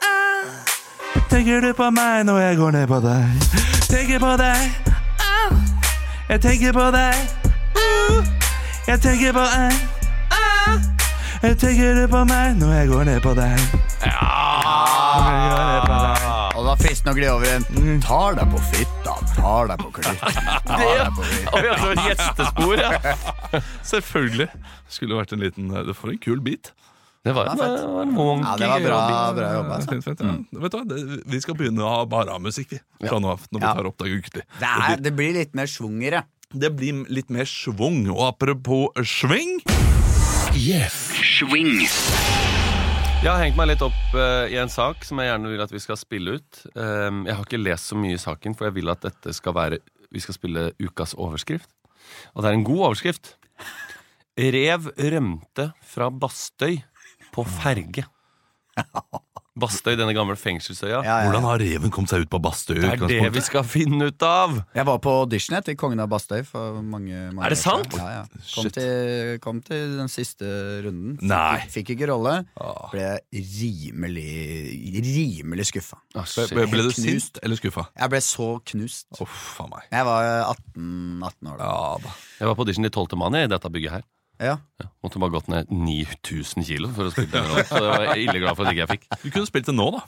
Ah. Tenker du på meg når jeg går ned på deg? Tenker på deg. Ah. Jeg tenker på deg. Uh. Jeg tenker på deg. Ah. Jeg tenker du på meg når jeg går ned på deg? Når jeg går ned på deg.
Ah.
Og det var fristende å gli over
Mm.
en Tar deg på fitta, tar deg på klitten, tar deg på klitten.
Oi, altså, gjestespor, ja.
Selvfølgelig. Skulle vært en liten eh, For en kul bit.
Det var,
Det var fett.
det var en wonky
Ja, det var bra,
jobbing.
bra jobba. altså.
Fint, fint, ja. Mm. Vet du hva, det, Vi skal begynne å ha bare ha musikk vi, fra nå av. Når vi
Ja.
tar Oppdag ukentlig.
Det, er, det blir litt mer svungere.
Det blir litt mer schwung. Og apropos sving
Jeg har hengt meg litt opp eh, i en sak som jeg gjerne vil at vi skal spille ut. Um, jeg har ikke lest så mye i saken, for jeg vil at dette skal være vi skal spille ukas overskrift. Og det er en god overskrift. Rev rømte fra Bastøy på ferge. Bastøy, denne gamle fengselsøya.
Ja, ja,
Hvordan
ja.
har reven kommet seg ut på Bastøy?
Det er det vi skal finne ut av!
Jeg var på audition til Kongen av Bastøy for mange, mange
Er
år
det
siden.
sant?
Ja, ja. Kom,
Shit.
til, kom til den siste runden. Fikk,
Nei.
fikk ikke rolle.
Ah.
Ble rimelig, rimelig skuffa.
Ah,
Ble,
shit.
ble, ble du
Helt knust.
sint eller skuffa?
Jeg ble så knust.
Uff faen meg.
Jeg var 18, 18 år da.
Ja da.
Jeg var på audition i 12. mann i dette bygget her.
Ja.
Ja, måtte bare gått ned 9000 kilo for å spille den rollen. Så jeg var ille glad for at ikke jeg fikk.
Du kunne spilt det nå, da.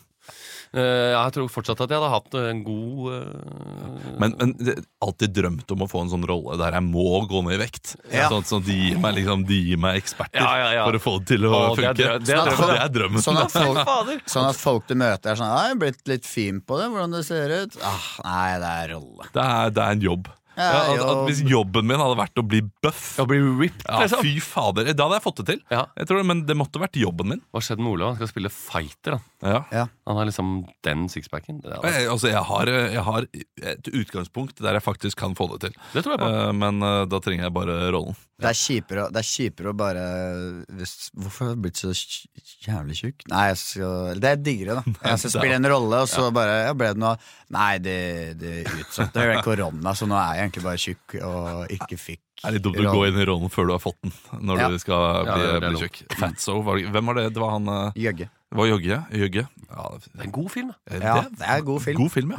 Eh, jeg tror fortsatt at jeg hadde hatt en god eh,
Men, men det, alltid drømt om å få en sånn rolle der jeg må gå ned i vekt.
Ja.
Sånn, sånn at de gir meg, liksom, de gir meg eksperter
Ja, ja, ja.
for å få det til å
Å, det er
funke.
drø- det
Sånn
er
at-
drømmen.
det er drømmen.
Sånn at folk,
Fader!
sånn at folk du møter, er sånn «Ah, 'Jeg er blitt litt fin på det, hvordan det ser ut.' Ah, nei, det er rolle.
Det, er, det er en jobb. Ja,
Ja,
at, at
jobb.
hvis jobben min hadde vært å bli bøff
Å bli ripped,
ja,
liksom.
Fy fader, da hadde jeg fått det til.
Ja.
Jeg tror det, Men det måtte vært jobben min.
Hva skjedde med Olav? Han skal spille fighter. Han,
Ja.
han har liksom den sixpacken. Det,
Og
er-
Jeg, altså, jeg, har, jeg har et utgangspunkt der jeg faktisk kan få det til.
det tror jeg på.
Eh, Men eh, da trenger jeg bare rollen.
Det er kjipere, å- det er kjipere å bare hvis, Hvorfor har jeg blitt så kj- jævlig tjukk? Nei, jeg skal, det er diggere, da. Jeg skal spille en rolle, og så bare ja, ble det noe Nei, det, det utsatte ble korona, så nå er jeg egentlig bare tjukk og ikke fikk
Det er litt dumt å gå inn i rollen før du har fått den. Når
Ja.
du skal
Ja,
bli, eh,
det er- det er
bli tjukk. Fatso, var, det- hvem var det? Det var han eh,
Jøgge.
Det var Jøgge. Jøgge. Ja,
Det er en god film, da.
det,
Ja, det er god film.
God film,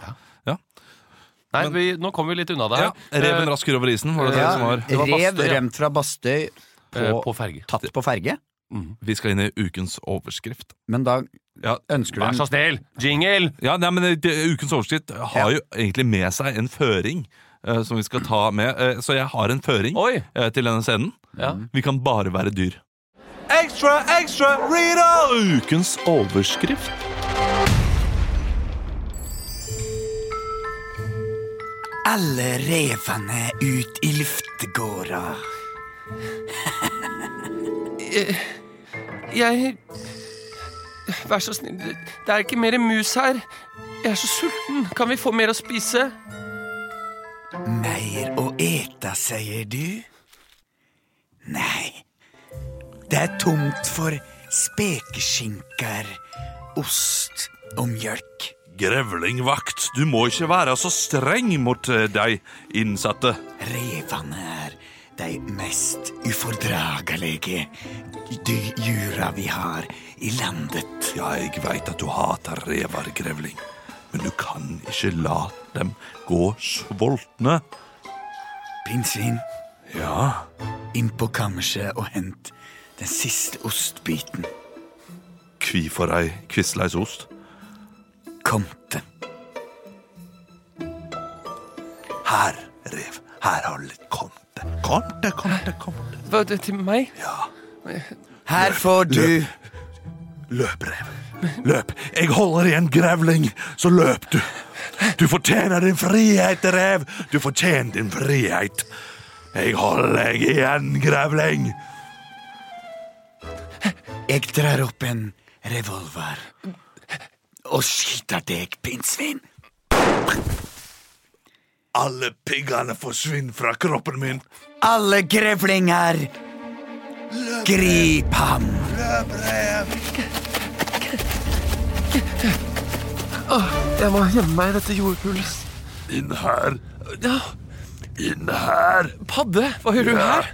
ja.
Nei, vi, nå kommer vi litt unna det
ja.
her.
Reven rasker over isen, var det det
Ja,
som var.
var Bastøy,
rev
ja.
rømt fra Bastøy,
Eh, eh,
på-
på ferge.
tatt på ferge,
Vi skal inn i ukens overskrift.
men da
Ja,
ønsker
Vær
du
så snill! Jingle!
Ja, nei, men det, Ukens overskrift har jo egentlig med seg en føring eh, som vi skal ta med. Eh, så jeg har en føring
Oi!
eh, til denne scenen.
Ja.
Vi kan bare være dyr. Ekstra, ekstra, Rita! Ukens overskrift.
Alle revene ut i luftgårda.
Jeg Vær så snill, det er ikke mer mus her. Jeg er så sulten. Kan vi få mer å spise?
Meier å eta, sier du? Nei, det er tomt for spekeskinker, ost og mjølk.
Grevlingvakt, du må ikke være så streng mot eh, de innsatte.
Revene er de mest ufordragelige dy- dyra vi har i landet.
Ja, jeg veit at du hater rever, grevling, men du kan ikke la dem gå sultne.
Pinnsvin,
Ja,
inn på kammerset og hent den siste ostbiten.
hvorfor ei Quisleis ost?
Komte.
Her, rev, her har du litt komte. Komte, komte, komte.
Hva, det, til meg?
Her får du
Løp, rev. Løp. Jeg holder igjen, grevling, så løp du. Du fortjener din frihet, rev. Du fortjener din frihet. Jeg holder deg igjen, grevling.
Jeg drar opp en revolver og skyter deg, pinnsvin.
Alle piggene forsvinner fra kroppen min.
Alle grevlinger, grip ham.
Jeg må gjemme meg i dette jordpullet.
Inn her.
Ja,
Inn her.
padde, hva gjør du her?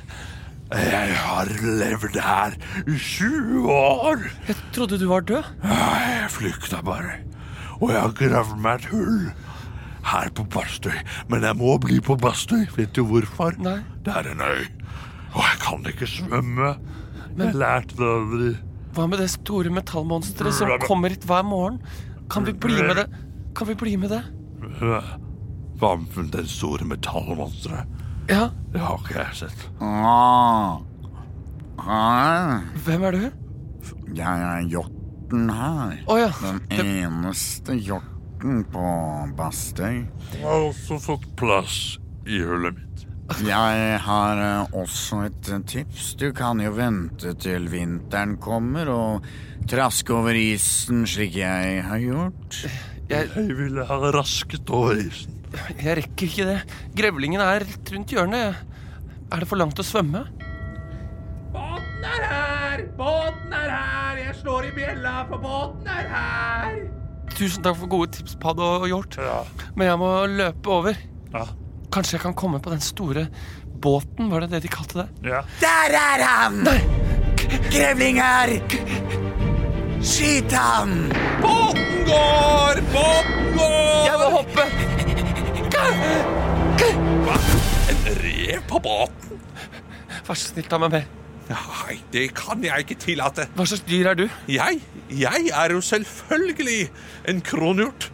Jeg har levd her i 20 år.
Jeg trodde du var død.
Jeg flykta bare. Og jeg har gravd meg et hull her på Bastøy. Men jeg må bli på Bastøy. Vet du hvorfor?
Nei.
Det er en øy. Og jeg kan ikke svømme. Jeg lærte det aldri.
Hva med det store metallmonsteret som kommer hit hver morgen? Kan vi bli med det? Kan vi bli med det?
Hva med den store metallmonsteret?
Ja,
Det har ikke jeg sett.
Ah. Ah.
hvem er du?
Jeg er hjorten her.
Å ja.
Den
Det,
eneste hjorten på Bastøy.
Jeg har også fått plass i hullet mitt.
Jeg har eh, også et eh, tips. Du kan jo vente til vinteren kommer og traske over isen slik jeg har gjort.
jeg,
Jeg ville ha rasket over isen.
jeg rekker ikke det. Grevlingen er rett rundt hjørnet. jeg. Er det for langt å svømme?
Båten er her! Båten er her! Jeg slår i bjella, for båten er her!
Tusen takk for gode tips, Padd og Hjort. Men jeg må løpe over.
Ja.
Kanskje jeg kan komme på den store båten, var det det de kalte det?
Der er han! Grevlinger! Skyt ham!
Båten går! Båten går!
Jeg må hoppe!
Rev på båten?
Vær så snill, ta meg med.
Nei, det kan jeg ikke tillate.
Hva slags dyr er du?
Jeg? Jeg er jo selvfølgelig en kronhjort.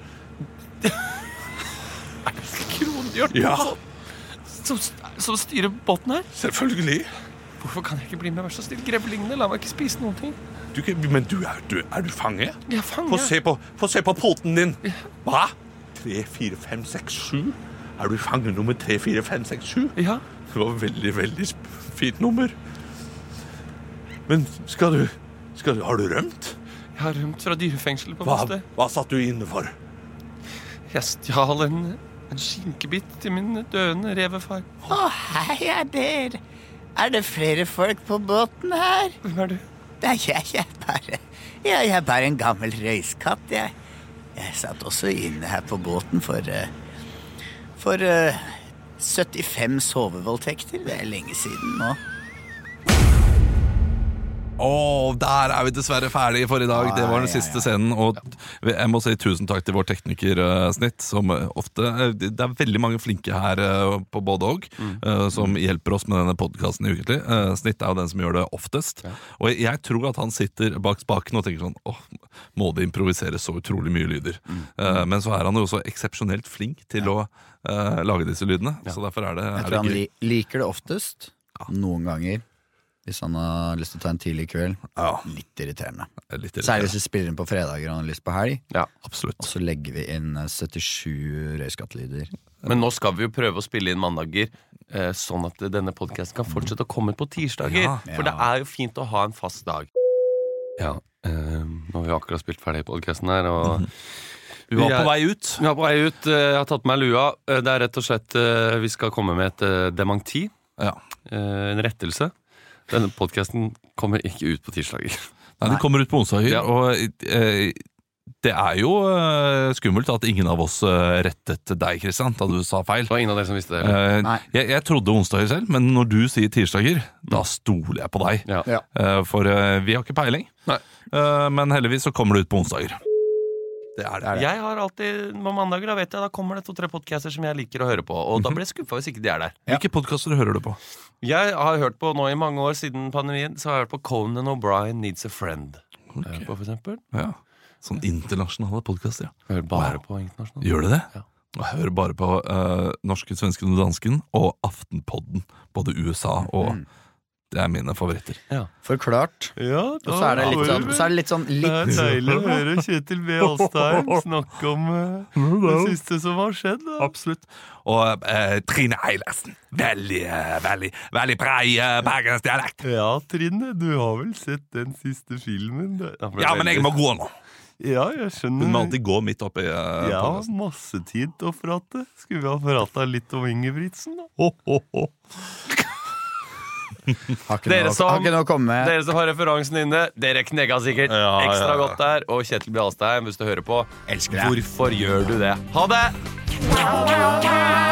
Kronhjort
Ja,
som, som styrer båten her?
selvfølgelig.
Hvorfor kan jeg ikke bli med? Vær så snill, grevlingene, la meg ikke spise noen ting.
Du, kan- men du er, du, er du fange?
Jeg er fanget.
Få se på, få se på poten din. Hva? 3, 4, 5, 6, 7? Er du fange nummer 3, 4, 5, 6, 7?
Ja,
Det var veldig, veldig sp- fint nummer. Men skal du, skal du Har du rømt?
jeg har rømt fra dyrefengsel på
Hva,
Bastøy.
hva satt du inne for?
Jeg stjal en, en skinkebit til min døende revefar.
Å, hei er der. Er det flere folk på båten her?
Hvem er du?
Nei, jeg, jeg er bare ja, Jeg er bare en gammel røyskatt, jeg. Jeg satt også inne her på båten for eh, For eh, 75 sovevoldtekter. Det er lenge siden nå.
Og der er vi dessverre ferdige for i dag. Det var den siste scenen. Og jeg må si tusen takk til vår tekniker eh, Snitt, som eh, ofte eh, Det er veldig mange flinke her eh, på både og, eh, som hjelper oss med denne podkasten ukentlig. Eh, Snitt er jo den som gjør det oftest. Og jeg- jeg tror at han sitter bak spaken og tenker sånn Åh, må det improviseres så utrolig mye lyder? Eh, Men så er han jo også eksepsjonelt flink til å eh, lage disse lydene. Så derfor er det,
Jeg
er
tror
det
han
gøy.
li liker det oftest. Noen ganger. Hvis han har lyst til å ta en tidlig kveld.
Ja,
Litt irriterende.
litt
Særlig
irriterende.
hvis vi spiller inn på fredager og han har lyst på helg.
Absolutt.
Og så legger vi inn eh, 77 røyskattlyder.
Men nå skal vi jo prøve å spille inn mandager, eh, sånn at denne podkasten kan fortsette å komme på tirsdager.
Ja.
For det er jo fint å ha en fast dag. Ja, eh, nå har vi akkurat spilt ferdig podkasten her, og
Mhm. Vi var
Jeg-
på vei ut.
Vi er på vei ut. eh, Jeg har tatt på meg lua. Eh, Det er rett og slett eh, Vi skal komme med et eh, dementi.
Ja.
Eh, En rettelse. Denne podkasten kommer ikke ut på tirsdager.
Nei, De kommer ut på onsdager,
Ja.
og eh, det er jo eh, skummelt at ingen av oss eh, rettet deg, Kristian, da du sa feil.
Det var ingen av dere som visste det. heller.
Eh,
Nei.
jeg, jeg trodde onsdager selv, men når du sier tirsdager,
Mm.
da stoler jeg på deg.
Ja.
Ja.
Eh, for eh, vi har ikke peiling.
Nei.
Eh, men heldigvis så kommer det ut på onsdager. Det er det.
Jeg har alltid På mandager da vet jeg Da kommer det to-tre podcaster som jeg liker å høre på. Og da blir jeg skuffa hvis ikke de er der.
Hvilke podkaster hører du på?
Jeg har hørt på nå i mange år siden pandemien Så har jeg hørt på Conan O'Brien Needs a Friend. Okay. På, for eksempel.
Ja. Sånn internasjonale podkaster, ja.
Jeg hører bare på internasjonalt.
Gjør du det?
Ja.
Jeg hører bare på eh, norsken, svensken og dansken og Aftenpodden. Både USA og
Mm.
Det er mine favoritter.
Forklart.
Ja,
Og så er det litt sånn, så er det litt sånn litt,
deilig å høre Kjetil B. Alstein snakke om det siste som har skjedd.
Absolutt. Og eh, Trine Eilertsen. Veldig, eh, veldig, veldig brei uh, bergensdialekt.
Ja, Trine, du har vel sett den siste filmen?
Ja, men jeg må gå nå.
Ja, jeg skjønner.
Hun må alltid gå midt oppi uh,
ja, masse tid til å prate. Skulle vi ha prata litt om Ingebrigtsen, da?
har, ikke
Dere
noe,
som-
har ikke noe å komme med.
Dere som har referansen inne, dere knegga sikkert ekstra godt der. Og Kjetil B. Alstein, hvis du hører på,
Elsker deg.
hvorfor gjør du det? Ha det!
Bye.